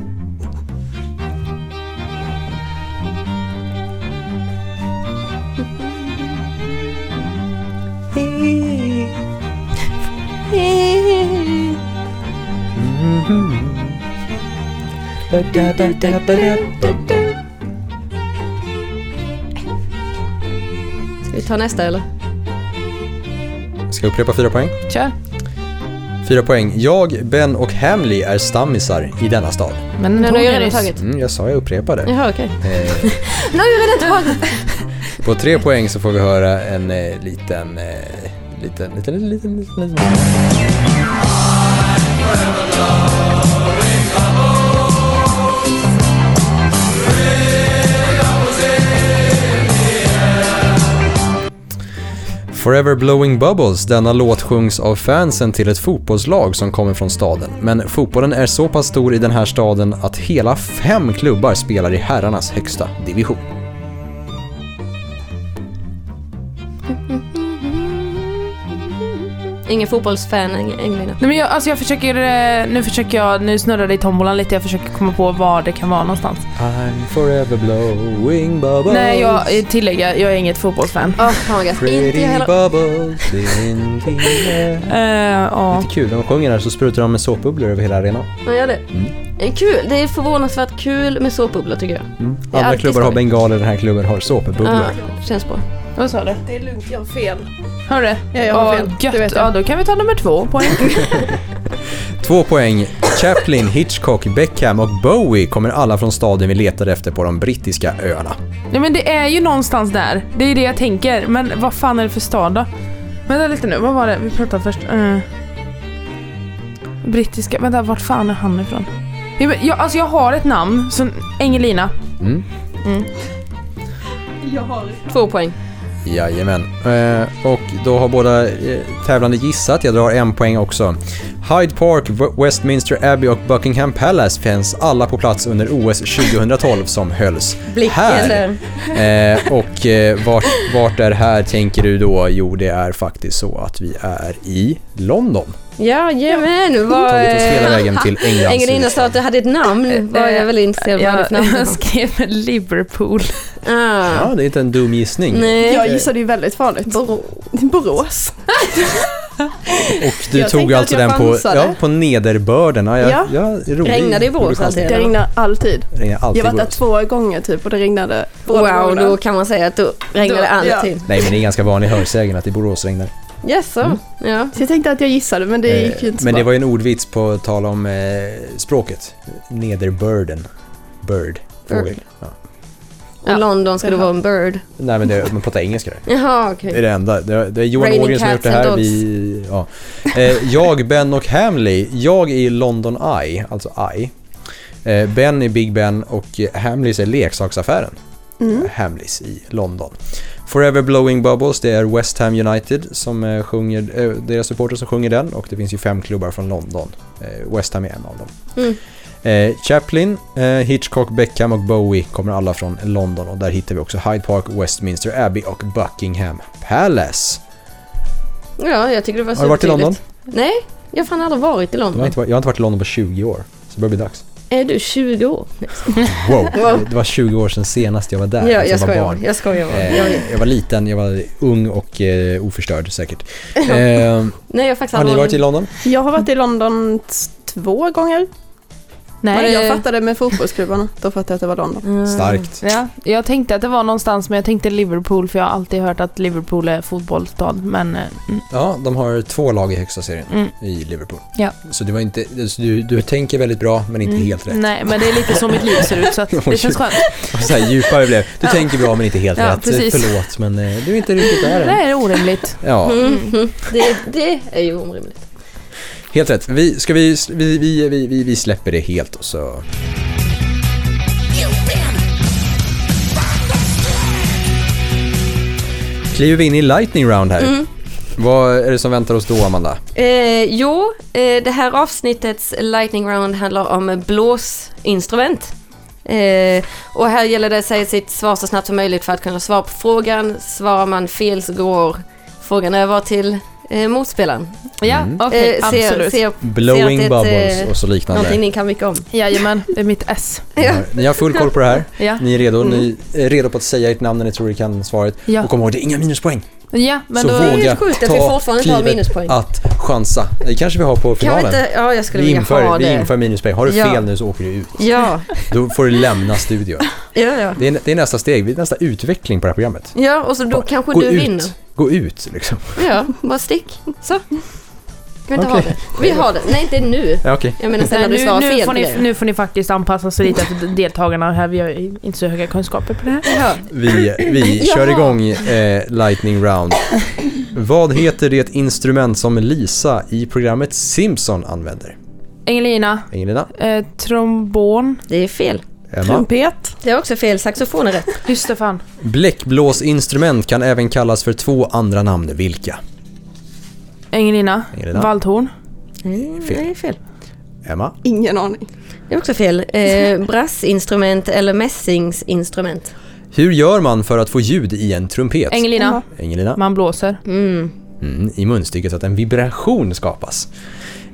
[SPEAKER 7] Ska vi ta nästa eller?
[SPEAKER 6] Ska jag upprepa fyra poäng?
[SPEAKER 8] Kör.
[SPEAKER 6] Fyra poäng. Jag, Ben och Hamley är stammisar i denna stad.
[SPEAKER 8] Men
[SPEAKER 7] den har
[SPEAKER 8] tog
[SPEAKER 7] ju
[SPEAKER 8] ni
[SPEAKER 7] redan
[SPEAKER 8] nyss.
[SPEAKER 7] tagit.
[SPEAKER 6] Mm, jag sa jag upprepade.
[SPEAKER 7] Jaha, okej.
[SPEAKER 6] Eh,
[SPEAKER 7] Nu har ju redan tagit.
[SPEAKER 6] på tre poäng så får vi höra en eh, liten, eh, liten, liten, liten, liten, liten, liten. Forever Blowing Bubbles, denna låt sjungs av fansen till ett fotbollslag som kommer från staden. Men fotbollen är så pass stor i den här staden att hela fem klubbar spelar i herrarnas högsta division.
[SPEAKER 7] Ingen fotbollsfan Eng- England.
[SPEAKER 8] Nej, men jag, alltså jag försöker, eh, nu försöker jag, nu snurrar det i tombolan lite, jag försöker komma på var det kan vara någonstans.
[SPEAKER 6] I'm forever blowing bubbles.
[SPEAKER 8] Nej, jag eh, tillägger, jag är inget fotbollsfan.
[SPEAKER 7] Oh my god, inte
[SPEAKER 6] Pretty
[SPEAKER 7] jag heller.
[SPEAKER 6] bubbles in the air.
[SPEAKER 8] Eh,
[SPEAKER 6] Lite kul, de sjunger här så sprutar de med såpbubblor över hela arenan.
[SPEAKER 7] Man gör det.
[SPEAKER 6] Mm.
[SPEAKER 7] Eh, Kul. Det är förvånansvärt kul med såpbubblor tycker jag. Det är
[SPEAKER 6] Andra
[SPEAKER 7] alltid
[SPEAKER 6] klubbar har
[SPEAKER 7] skoj.
[SPEAKER 6] bengaler, den här klubben har såpbubblor.
[SPEAKER 7] Ja, känns bra.
[SPEAKER 8] Vad sa du?
[SPEAKER 5] Det är lugnt, jag har fel.
[SPEAKER 8] Har du det?
[SPEAKER 5] Ja, jag har
[SPEAKER 8] Åh,
[SPEAKER 5] fel. Det
[SPEAKER 8] Gött.
[SPEAKER 5] vet jag.
[SPEAKER 8] Ja, då kan vi ta nummer två poäng.
[SPEAKER 6] Två poäng. Chaplin, Hitchcock, Beckham och Bowie kommer alla från staden vi letar efter på de brittiska öarna.
[SPEAKER 8] Nej men det är ju någonstans där. Det är ju det jag tänker. Men vad fan är det för stad då? Vänta lite nu, vad var det? Vi pratade först. Eh. Brittiska, vänta vart fan är han ifrån? Jag, jag, alltså jag har ett namn, som Engelina.
[SPEAKER 6] Mm.
[SPEAKER 8] Mm.
[SPEAKER 5] Jag har
[SPEAKER 7] Två poäng.
[SPEAKER 6] Jajamän. Eh, och då har båda eh, tävlande gissat. Jag drar en poäng också. Hyde Park, W- Westminster Abbey och Buckingham Palace finns alla på plats under OS 2012 som hölls här. Eh, och eh, vart, vart är här tänker du då? Jo, det är faktiskt så att vi är i London.
[SPEAKER 7] Ja, jajamän. Nu var...
[SPEAKER 6] Tagit oss hela vägen till Englands
[SPEAKER 7] Engelina sa att du hade ett namn. Var jag väldigt intresserad av vad
[SPEAKER 8] jag,
[SPEAKER 7] ditt namn var.
[SPEAKER 8] jag skrev Liverpool.
[SPEAKER 7] Ah.
[SPEAKER 6] Ja, det är inte en dum gissning.
[SPEAKER 7] Nej.
[SPEAKER 5] Jag gissade ju väldigt farligt. Borås.
[SPEAKER 6] Och du
[SPEAKER 5] Jag
[SPEAKER 6] tog
[SPEAKER 5] tänkte
[SPEAKER 6] alltså
[SPEAKER 5] att jag
[SPEAKER 6] den på,
[SPEAKER 5] chansade.
[SPEAKER 6] ja, på nederbörden. Ja, jag,
[SPEAKER 5] Ja.
[SPEAKER 6] jag, rolig,
[SPEAKER 7] Regnade i Borås
[SPEAKER 6] rolig chansning.
[SPEAKER 7] alltid,
[SPEAKER 5] Det regnar alltid.
[SPEAKER 6] Det regnar alltid
[SPEAKER 5] jag har
[SPEAKER 6] i
[SPEAKER 5] varit där
[SPEAKER 6] Borås.
[SPEAKER 5] två gånger typ och det regnade. båda
[SPEAKER 7] Wow,
[SPEAKER 5] gångerna.
[SPEAKER 7] då kan man säga att då regnade
[SPEAKER 5] Då- ja.
[SPEAKER 7] alltid.
[SPEAKER 6] Nej, men det är en ganska vanlig hörsägen att i Borås regnar.
[SPEAKER 7] Jaså? Mm. Ja.
[SPEAKER 5] Så jag tänkte att jag gissade men det gick ju
[SPEAKER 6] Eh,
[SPEAKER 5] inte så
[SPEAKER 6] Men det
[SPEAKER 5] bra.
[SPEAKER 6] var ju en ordvits på tal om eh, språket. Nederbörden. Bird. Fågel. Ja.
[SPEAKER 7] Och London ska det vara en bird.
[SPEAKER 6] Nej, men det, man pratar engelska där.
[SPEAKER 7] Jaha, okej.
[SPEAKER 6] Det är det enda. Det, det är Johan
[SPEAKER 7] Raining
[SPEAKER 6] Ågren som har gjort det
[SPEAKER 7] cats and
[SPEAKER 6] här.
[SPEAKER 7] dogs.
[SPEAKER 6] Vi, ja. eh, jag, Ben och Hamley. Jag är London Eye, alltså Eye. Eh, ben är Big Ben och eh, Hamleys är leksaksaffären. Eh,
[SPEAKER 5] Mm.
[SPEAKER 6] Hamleys i London. Forever Blowing Bubbles, det är West Ham United som eh, sjunger, eh, deras supporter som sjunger den och det finns ju fem klubbar från London. Eh, West Ham är en av dem.
[SPEAKER 7] Mm.
[SPEAKER 6] Eh, Chaplin, eh, Hitchcock, Beckham och Bowie kommer alla från London och där hittar vi också Hyde Park, Westminster Abbey och Buckingham Palace.
[SPEAKER 7] Ja, jag tycker det var
[SPEAKER 6] Har du varit i London?
[SPEAKER 7] supertydligt. Nej, jag har fan aldrig varit i
[SPEAKER 6] Jag har,
[SPEAKER 7] London.
[SPEAKER 6] inte varit, jag har inte varit i London på 20 år, så det börjar bli dags.
[SPEAKER 7] Är du 20 år? Nej,
[SPEAKER 6] Wow, det var 20 år sedan senast jag var där.
[SPEAKER 7] Ja,
[SPEAKER 6] alltså
[SPEAKER 7] jag
[SPEAKER 6] var
[SPEAKER 7] skojar
[SPEAKER 6] barn.
[SPEAKER 7] bara. Jag skojar bara. Jag-
[SPEAKER 6] Eh, jag var liten, jag var ung och eh, oförstörd säkert. Eh,
[SPEAKER 7] Nej, jag har faktiskt
[SPEAKER 6] har ni
[SPEAKER 7] aldrig
[SPEAKER 6] varit i London?
[SPEAKER 5] Jag har varit i London t- två gånger.
[SPEAKER 8] Nej.
[SPEAKER 5] Men jag fattade med fotbollsklubbarna. Då fattade jag att det var London.
[SPEAKER 6] Mm. Starkt.
[SPEAKER 8] Ja, jag tänkte att det var någonstans men jag tänkte Liverpool för jag har alltid hört att Liverpool är fotbollsstad men eh, mm.
[SPEAKER 6] Ja, de har två lag i högsta serien
[SPEAKER 8] Mm.
[SPEAKER 6] i Liverpool.
[SPEAKER 8] Ja.
[SPEAKER 6] Så det var inte, så du, du tänker väldigt bra men inte
[SPEAKER 8] Mm.
[SPEAKER 6] helt rätt.
[SPEAKER 8] Nej men det är lite så mitt liv ser ut så att det känns skönt.
[SPEAKER 6] Och Så här djupare blev Du tänker bra men inte helt
[SPEAKER 8] Ja,
[SPEAKER 6] rätt.
[SPEAKER 8] precis.
[SPEAKER 6] Förlåt men eh, du är inte riktigt där
[SPEAKER 8] Det
[SPEAKER 6] än.
[SPEAKER 8] här är orimligt.
[SPEAKER 6] Ja,
[SPEAKER 7] Mm. Det, det är ju orimligt.
[SPEAKER 6] helt rätt. Vi, ska vi, vi, vi, vi, vi, vi släpper det helt och så... Kliver vi in i lightning round här.
[SPEAKER 7] Mm.
[SPEAKER 6] Vad är det som väntar oss då, Amanda?
[SPEAKER 7] Eh, jo, eh, det här avsnittets Lightning Round handlar om blåsinstrument. Eh, och här gäller det att säga sitt svar så snabbt som möjligt för att kunna svara på frågan. Svarar man fel så går frågan över till eh, motspelaren.
[SPEAKER 8] Ja,
[SPEAKER 7] Mm.
[SPEAKER 8] okej,
[SPEAKER 7] Eh, ser-
[SPEAKER 8] absolut.
[SPEAKER 7] ser-
[SPEAKER 6] Blowing
[SPEAKER 7] ser att det är ett,
[SPEAKER 6] bubbles
[SPEAKER 7] eh,
[SPEAKER 6] och så liknande.
[SPEAKER 7] Någonting ni kan mycket om.
[SPEAKER 8] Jajamän, det är mitt S.
[SPEAKER 6] Ni har full koll på det här.
[SPEAKER 8] Ja.
[SPEAKER 6] Ni är redo.
[SPEAKER 8] Mm.
[SPEAKER 6] Ni är redo på att säga ert namn när ni tror ni kan svaret.
[SPEAKER 8] Ja.
[SPEAKER 6] Och kom ihåg, det är inga minuspoäng.
[SPEAKER 8] Ja, men
[SPEAKER 6] så
[SPEAKER 8] då...
[SPEAKER 6] våga
[SPEAKER 7] helt sjukt att vi
[SPEAKER 6] ta
[SPEAKER 7] fortfarande inte har
[SPEAKER 6] klivet
[SPEAKER 7] minuspoäng.
[SPEAKER 6] att chansa. Det kanske vi har på
[SPEAKER 7] Kan vi
[SPEAKER 6] finalen.
[SPEAKER 7] inte, ja, jag skulle
[SPEAKER 6] vi,
[SPEAKER 7] vilja
[SPEAKER 6] inför,
[SPEAKER 7] ha
[SPEAKER 6] vi
[SPEAKER 7] det.
[SPEAKER 6] inför minuspoäng. Har du
[SPEAKER 7] Ja.
[SPEAKER 6] fel nu så åker du ut.
[SPEAKER 7] Ja,
[SPEAKER 6] Då får du lämna studion.
[SPEAKER 7] ja, ja.
[SPEAKER 6] Det är, det är nästa steg. Det är nästa utveckling på det här programmet.
[SPEAKER 7] Ja, och så då kanske
[SPEAKER 6] Gå
[SPEAKER 7] du
[SPEAKER 6] ut.
[SPEAKER 7] vinner.
[SPEAKER 6] Gå ut liksom.
[SPEAKER 7] Ja, bara stick. Så. Vi inte ha
[SPEAKER 6] Okej.
[SPEAKER 7] det. Vi har det. Nej, inte nu.
[SPEAKER 6] Ja, okej.
[SPEAKER 7] Jag menar sen när
[SPEAKER 8] Nej,
[SPEAKER 7] du svarar
[SPEAKER 8] nu, nu,
[SPEAKER 7] fel
[SPEAKER 8] får
[SPEAKER 7] på
[SPEAKER 8] ni,
[SPEAKER 7] det.
[SPEAKER 8] nu får ni faktiskt anpassa sig lite att deltagarna här, vi har ju inte så höga kunskaper på det här.
[SPEAKER 6] Vi, vi
[SPEAKER 8] Jaha.
[SPEAKER 6] kör igång eh, Lightning Round. Vad heter det instrument som Lisa i programmet Simpson använder?
[SPEAKER 8] Engelina,
[SPEAKER 6] Ingelina?
[SPEAKER 8] eh, trombon.
[SPEAKER 7] Det är fel.
[SPEAKER 6] Emma? Trumpet.
[SPEAKER 7] Det är också fel. Saxofon är rätt.
[SPEAKER 8] Just det, fan.
[SPEAKER 6] Bläckblåsinstrument kan även kallas för två andra namn. Vilka?
[SPEAKER 8] Engelina,
[SPEAKER 6] Engelina.
[SPEAKER 8] valthorn.
[SPEAKER 6] Fel.
[SPEAKER 7] Nej, fel.
[SPEAKER 6] Emma?
[SPEAKER 7] Ingen aning. Det är också fel. Eh, brassinstrument eller mässingsinstrument.
[SPEAKER 6] Hur gör man för att få ljud i en trumpet?
[SPEAKER 8] Engelina.
[SPEAKER 6] Engelina?
[SPEAKER 8] Man blåser.
[SPEAKER 6] Mm, I munstycket så att en vibration skapas.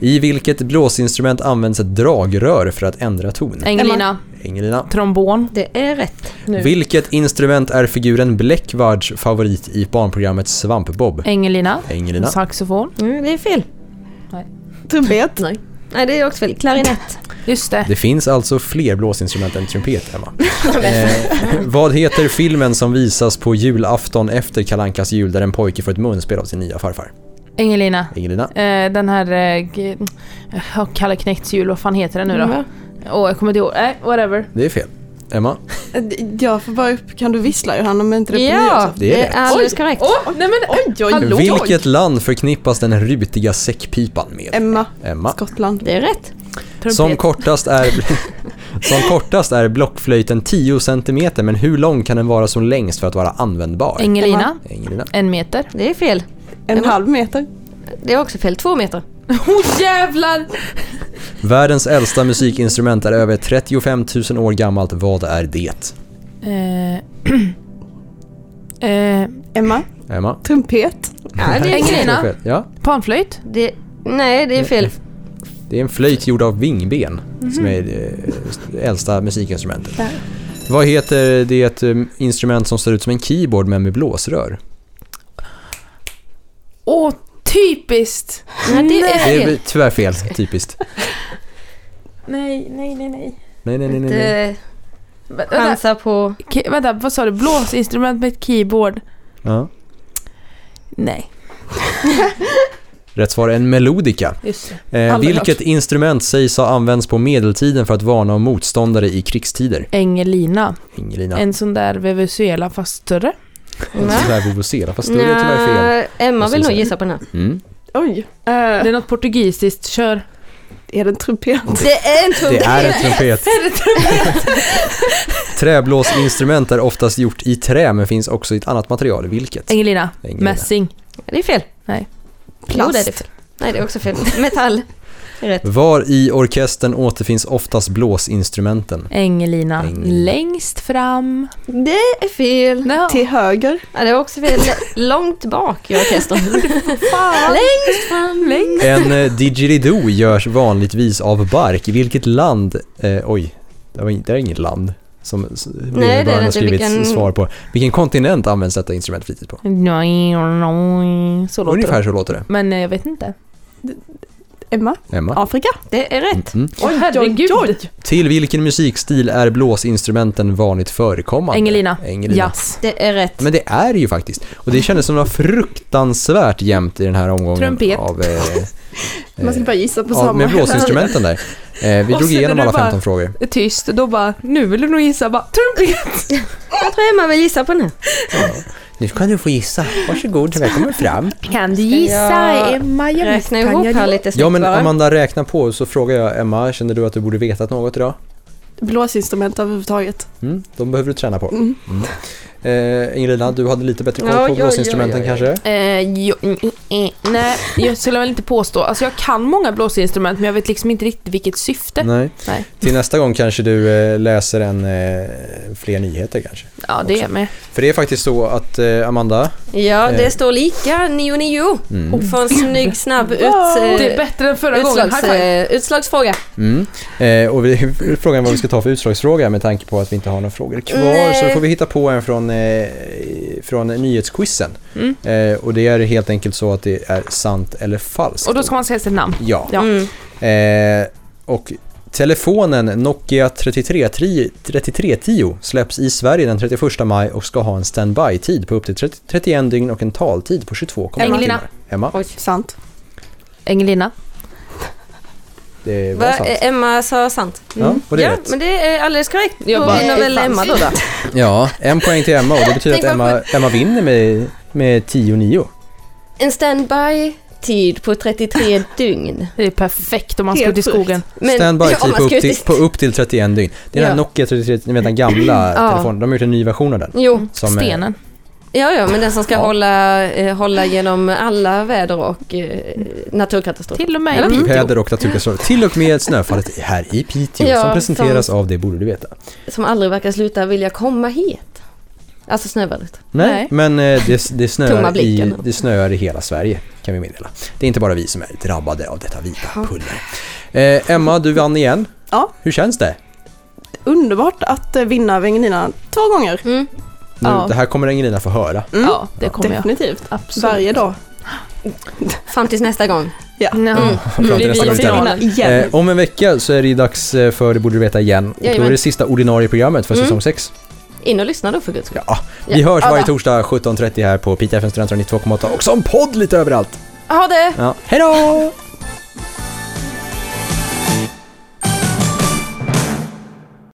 [SPEAKER 6] I vilket blåsinstrument används ett dragrör för att ändra ton?
[SPEAKER 8] Engelina,
[SPEAKER 6] Engelina.
[SPEAKER 8] trombon.
[SPEAKER 7] Det är rätt.
[SPEAKER 8] Nu.
[SPEAKER 6] Vilket instrument är figuren Bleckvards favorit i barnprogrammet Svampbob?
[SPEAKER 8] Engelina.
[SPEAKER 6] Engelina.
[SPEAKER 8] Saxofon.
[SPEAKER 7] Mm, det är fel.
[SPEAKER 8] Nej.
[SPEAKER 7] Trumpet? Nej. Nej, det är också fel. Klarinett.
[SPEAKER 8] Just det.
[SPEAKER 6] Det finns alltså fler blåsinstrument än trumpet, Emma. eh, vad heter filmen som visas på julafton efter Kalankas jul där en pojke får ett munspel av sin nya farfar?
[SPEAKER 8] Engelina.
[SPEAKER 6] Engelina.
[SPEAKER 8] Eh, den här... Eh, g- oh, Kalle Knekts jul, vad fan heter den nu då? Åh,
[SPEAKER 5] Mm.
[SPEAKER 8] jag kommer inte ihåg. Nej, whatever.
[SPEAKER 6] Det är fel. Emma.
[SPEAKER 5] Eh, Jag får bara upp, kan du vissla Johanna om inte det är
[SPEAKER 8] Ja,
[SPEAKER 5] på nyårsafton?
[SPEAKER 6] det är rätt.
[SPEAKER 7] Alldeles korrekt.
[SPEAKER 8] Åh, nej men
[SPEAKER 5] Oj, oj, oj.
[SPEAKER 6] Vilket land förknippas den rutiga säckpipan med?
[SPEAKER 5] Emma.
[SPEAKER 6] Emma.
[SPEAKER 5] Skottland.
[SPEAKER 7] Det är rätt.
[SPEAKER 6] Som kortast är, som kortast är blockflöjten 10 cm, men hur lång kan den vara som längst för att vara användbar?
[SPEAKER 8] Engelina.
[SPEAKER 6] Engelina.
[SPEAKER 8] En meter.
[SPEAKER 7] Det är fel.
[SPEAKER 5] En halv meter.
[SPEAKER 7] Det är också fel. Två meter.
[SPEAKER 8] Åh oh, jävlar!
[SPEAKER 6] Världens äldsta musikinstrument är över 35 000 år gammalt. Vad är det?
[SPEAKER 8] Eh, eh,
[SPEAKER 5] Emma.
[SPEAKER 6] Emma?
[SPEAKER 5] Trumpet.
[SPEAKER 7] Ja, det är
[SPEAKER 8] Engelina.
[SPEAKER 6] Fel. Ja,
[SPEAKER 8] Panflöjt.
[SPEAKER 7] Det, nej, det är fel.
[SPEAKER 6] det är en flöjt gjord av vingben
[SPEAKER 7] Mhm.
[SPEAKER 6] som är det äldsta musikinstrumentet. Vad heter det eh, instrument som ser ut som en keyboard men med blåsrör?
[SPEAKER 8] Åh, typiskt!
[SPEAKER 7] Nej, det är
[SPEAKER 6] Det
[SPEAKER 7] fel.
[SPEAKER 6] är tyvärr fel, typiskt.
[SPEAKER 8] Nej, nej, nej, nej.
[SPEAKER 6] Nej, nej, nej, nej. nej.
[SPEAKER 7] Det
[SPEAKER 8] Vä- Vänta,
[SPEAKER 7] chansar eh, på...
[SPEAKER 8] ke- vänta, vad sa du? Blåsinstrument med ett keyboard?
[SPEAKER 6] Ja.
[SPEAKER 8] Nej.
[SPEAKER 6] Rätt svar är en melodika.
[SPEAKER 8] Just det.
[SPEAKER 6] Eh,
[SPEAKER 8] Aldrig
[SPEAKER 6] vilket instrument sägs ha använts på medeltiden för att varna om motståndare i krigstider?
[SPEAKER 8] Engelina.
[SPEAKER 6] Ingelina. En
[SPEAKER 8] En sån där Venezuela fast större.
[SPEAKER 6] sån där vuvuzela, fast det är tyvärr fel.
[SPEAKER 7] Nej, Emma
[SPEAKER 6] Måste
[SPEAKER 7] vill
[SPEAKER 6] vi
[SPEAKER 7] nog
[SPEAKER 6] säga.
[SPEAKER 7] gissa på den här.
[SPEAKER 6] Mm.
[SPEAKER 5] Oj.
[SPEAKER 8] Det är något portugisiskt, kör.
[SPEAKER 5] Är det en trumpet?
[SPEAKER 7] Det är en
[SPEAKER 6] Det
[SPEAKER 7] trumpet.
[SPEAKER 6] är en trumpet.
[SPEAKER 8] Är det trumpet?
[SPEAKER 6] Träblåsinstrument är oftast gjort i trä men finns också i ett annat material. Vilket?
[SPEAKER 8] Engelina.
[SPEAKER 6] Engelina.
[SPEAKER 8] Mässing.
[SPEAKER 7] Det är fel.
[SPEAKER 8] Nej.
[SPEAKER 7] Jo, det är det fel. Nej, det är också fel. Metall. Det är rätt.
[SPEAKER 6] Var i orkestern återfinns oftast blåsinstrumenten?
[SPEAKER 8] Engelina.
[SPEAKER 6] Engelina.
[SPEAKER 8] Längst fram.
[SPEAKER 7] Det är fel.
[SPEAKER 8] No.
[SPEAKER 5] Till höger.
[SPEAKER 7] Ja, det är också fel. Långt bak i orkestern.
[SPEAKER 8] Fan.
[SPEAKER 7] Längst fram.
[SPEAKER 8] Längst.
[SPEAKER 6] En eh, didgeridoo görs vanligtvis av bark. Vilket land... Eh, oj, det, var, in- det är inget land som s-
[SPEAKER 7] det är
[SPEAKER 6] har
[SPEAKER 7] det inte.
[SPEAKER 6] skrivit
[SPEAKER 7] Vilken-
[SPEAKER 6] svar på. Vilken kontinent används detta instrument flitigt på?
[SPEAKER 8] Så låter
[SPEAKER 6] Ungefär
[SPEAKER 8] det.
[SPEAKER 6] så låter det.
[SPEAKER 8] Men eh, jag vet inte.
[SPEAKER 5] Emma.
[SPEAKER 6] Emma?
[SPEAKER 5] Afrika.
[SPEAKER 7] Det är rätt.
[SPEAKER 6] Mm.
[SPEAKER 8] Oj, herregud.
[SPEAKER 6] Till vilken musikstil är blåsinstrumenten vanligt förekommande?
[SPEAKER 8] Engelina.
[SPEAKER 6] Engelina.
[SPEAKER 8] Jazz.
[SPEAKER 7] Det är rätt.
[SPEAKER 6] Men det är det ju faktiskt. Och det kändes som något fruktansvärt jämnt i den här omgången.
[SPEAKER 8] Trumpet.
[SPEAKER 6] Av, eh,
[SPEAKER 5] Man ska bara gissa på
[SPEAKER 6] ja,
[SPEAKER 5] samma.
[SPEAKER 6] med blåsinstrumenten där. Eh, vi
[SPEAKER 8] Och
[SPEAKER 6] drog
[SPEAKER 8] sen
[SPEAKER 6] igenom
[SPEAKER 8] är det
[SPEAKER 6] alla
[SPEAKER 8] bara-
[SPEAKER 6] 15 frågor.
[SPEAKER 8] Det är Tyst, då bara, nu vill du nog gissa, bara trumpet!
[SPEAKER 7] Jag tror Emma vill gissa på den här.
[SPEAKER 6] Nu kan du få gissa. Varsågod, välkommen fram.
[SPEAKER 8] Kan du
[SPEAKER 7] Ja,
[SPEAKER 8] Emma?
[SPEAKER 7] Räkna ihop här lite snabbt
[SPEAKER 6] Ja, men
[SPEAKER 7] bara.
[SPEAKER 6] Amanda, räkna på så frågar jag Emma, känner du att du borde vetat något idag?
[SPEAKER 5] Blåsinstrument överhuvudtaget.
[SPEAKER 6] Mm, de behöver du träna på. Mm. Eh, Ingrida, du hade lite bättre koll
[SPEAKER 8] Ja,
[SPEAKER 6] på
[SPEAKER 8] ja,
[SPEAKER 6] blåsinstrumenten
[SPEAKER 8] ja, ja, ja.
[SPEAKER 6] kanske?
[SPEAKER 8] Eh, jo, mm, mm, nej, jag skulle väl inte påstå. Alltså jag kan många blåsinstrument men jag vet liksom inte riktigt vilket syfte.
[SPEAKER 6] Nej.
[SPEAKER 8] Nej.
[SPEAKER 6] Till nästa gång kanske du eh, läser en, eh, fler nyheter kanske?
[SPEAKER 8] Ja, det är med.
[SPEAKER 6] För det är faktiskt så att eh, Amanda,
[SPEAKER 7] Ja,
[SPEAKER 6] Eh.
[SPEAKER 7] det står lika 9-9.
[SPEAKER 8] Oh.
[SPEAKER 6] Mm.
[SPEAKER 7] Och Får en snygg snabb ut,
[SPEAKER 8] Det är bättre än förra gången. High five.
[SPEAKER 7] eh, utslagsfråga.
[SPEAKER 6] mm, eh, och vi, frågan är vad vi ska ta för utslagsfråga med tanke på att vi inte har några frågor kvar.
[SPEAKER 7] Nej.
[SPEAKER 6] Så då får vi hitta på en från, eh, från nyhetsquizen.
[SPEAKER 8] Mm.
[SPEAKER 6] Eh, och det är helt enkelt så att det är sant eller falskt.
[SPEAKER 8] Och då ska man säga sitt namn.
[SPEAKER 6] Ja.
[SPEAKER 8] Ja.
[SPEAKER 7] Mm.
[SPEAKER 6] Eh, och telefonen Nokia 3310 3310 släpps i Sverige den 31 maj och ska ha en standby-tid på upp till 30, 31 dygn och en taltid på 22,5
[SPEAKER 8] Engelina.
[SPEAKER 6] timmar. Emma,
[SPEAKER 8] Sant. Engelina.
[SPEAKER 6] det var
[SPEAKER 7] Va,
[SPEAKER 6] sant.
[SPEAKER 7] eh, Emma sa sant.
[SPEAKER 6] Ja, och det är
[SPEAKER 7] ja
[SPEAKER 6] rätt.
[SPEAKER 7] men det är alldeles korrekt.
[SPEAKER 8] Jag
[SPEAKER 7] Jag
[SPEAKER 8] bara-
[SPEAKER 7] vinner
[SPEAKER 5] Eh,
[SPEAKER 7] väl
[SPEAKER 8] Det är
[SPEAKER 7] Emma
[SPEAKER 8] falskt.
[SPEAKER 7] då. då.
[SPEAKER 6] Ja, en poäng till Emma och det betyder att
[SPEAKER 7] Tänk
[SPEAKER 6] Emma, Emma vinner med, med 10-9.
[SPEAKER 7] En standby-tid på 33 dygn.
[SPEAKER 8] Det är perfekt om man ska ut i skogen.
[SPEAKER 7] Men-
[SPEAKER 6] Standby-tid
[SPEAKER 7] ja, man
[SPEAKER 6] på, upp
[SPEAKER 7] ska ut i
[SPEAKER 6] till- på upp till 31 dygn. Det är den
[SPEAKER 7] Ja.
[SPEAKER 6] här Nokia 33, ni vet den gamla
[SPEAKER 7] Ja.
[SPEAKER 6] telefonen, de har gjort en ny version av den.
[SPEAKER 7] Jo,
[SPEAKER 6] Som, eh, stenen.
[SPEAKER 7] Ja, ja, men den som ska hålla, eh, hålla genom alla väder och eh, naturkatastrofer.
[SPEAKER 8] Till och med
[SPEAKER 7] Eller?
[SPEAKER 6] Väder och naturkatastrofer. Till och med snöfallet här i Piteå
[SPEAKER 7] Ja,
[SPEAKER 6] som presenteras
[SPEAKER 7] som-
[SPEAKER 6] av Det borde du veta.
[SPEAKER 7] Som aldrig verkar sluta vilja komma hit. Alltså snövädret.
[SPEAKER 6] Nej, men eh, det, det,
[SPEAKER 7] Tomma
[SPEAKER 6] snöar i,
[SPEAKER 7] blicken.
[SPEAKER 6] det snöar i hela Sverige kan vi meddela. Det är inte bara vi som är drabbade av detta vita puller. Eh, Emma, du vann igen.
[SPEAKER 5] Ja.
[SPEAKER 6] Hur känns det?
[SPEAKER 5] Underbart att eh, vinna över Engelina två gånger.
[SPEAKER 6] Nu,
[SPEAKER 5] Ja.
[SPEAKER 6] Det här kommer Engelina få höra.
[SPEAKER 5] Mm.
[SPEAKER 8] Ja, det kommer jag.
[SPEAKER 5] Definitivt.
[SPEAKER 8] Absolut.
[SPEAKER 5] Varje dag.
[SPEAKER 7] Fram tills nästa gång.
[SPEAKER 5] Ja.
[SPEAKER 8] Mm.
[SPEAKER 6] Fram till nästa gång vi tävlar.
[SPEAKER 5] igen.
[SPEAKER 6] Eh, om en vecka så är det dags eh, för Det borde du veta igen. Och då är
[SPEAKER 7] Jajamän.
[SPEAKER 6] det sista ordinarie programmet för
[SPEAKER 7] Mm.
[SPEAKER 6] säsong 6.
[SPEAKER 7] In och lyssna då för guds skull.
[SPEAKER 6] Vi
[SPEAKER 7] Ja.
[SPEAKER 6] hörs varje
[SPEAKER 7] Alla.
[SPEAKER 6] torsdag 17.30 här på Piteå FM Studentrad 92,8 och som podd lite överallt.
[SPEAKER 7] Ha det!
[SPEAKER 6] Ja. Hej då!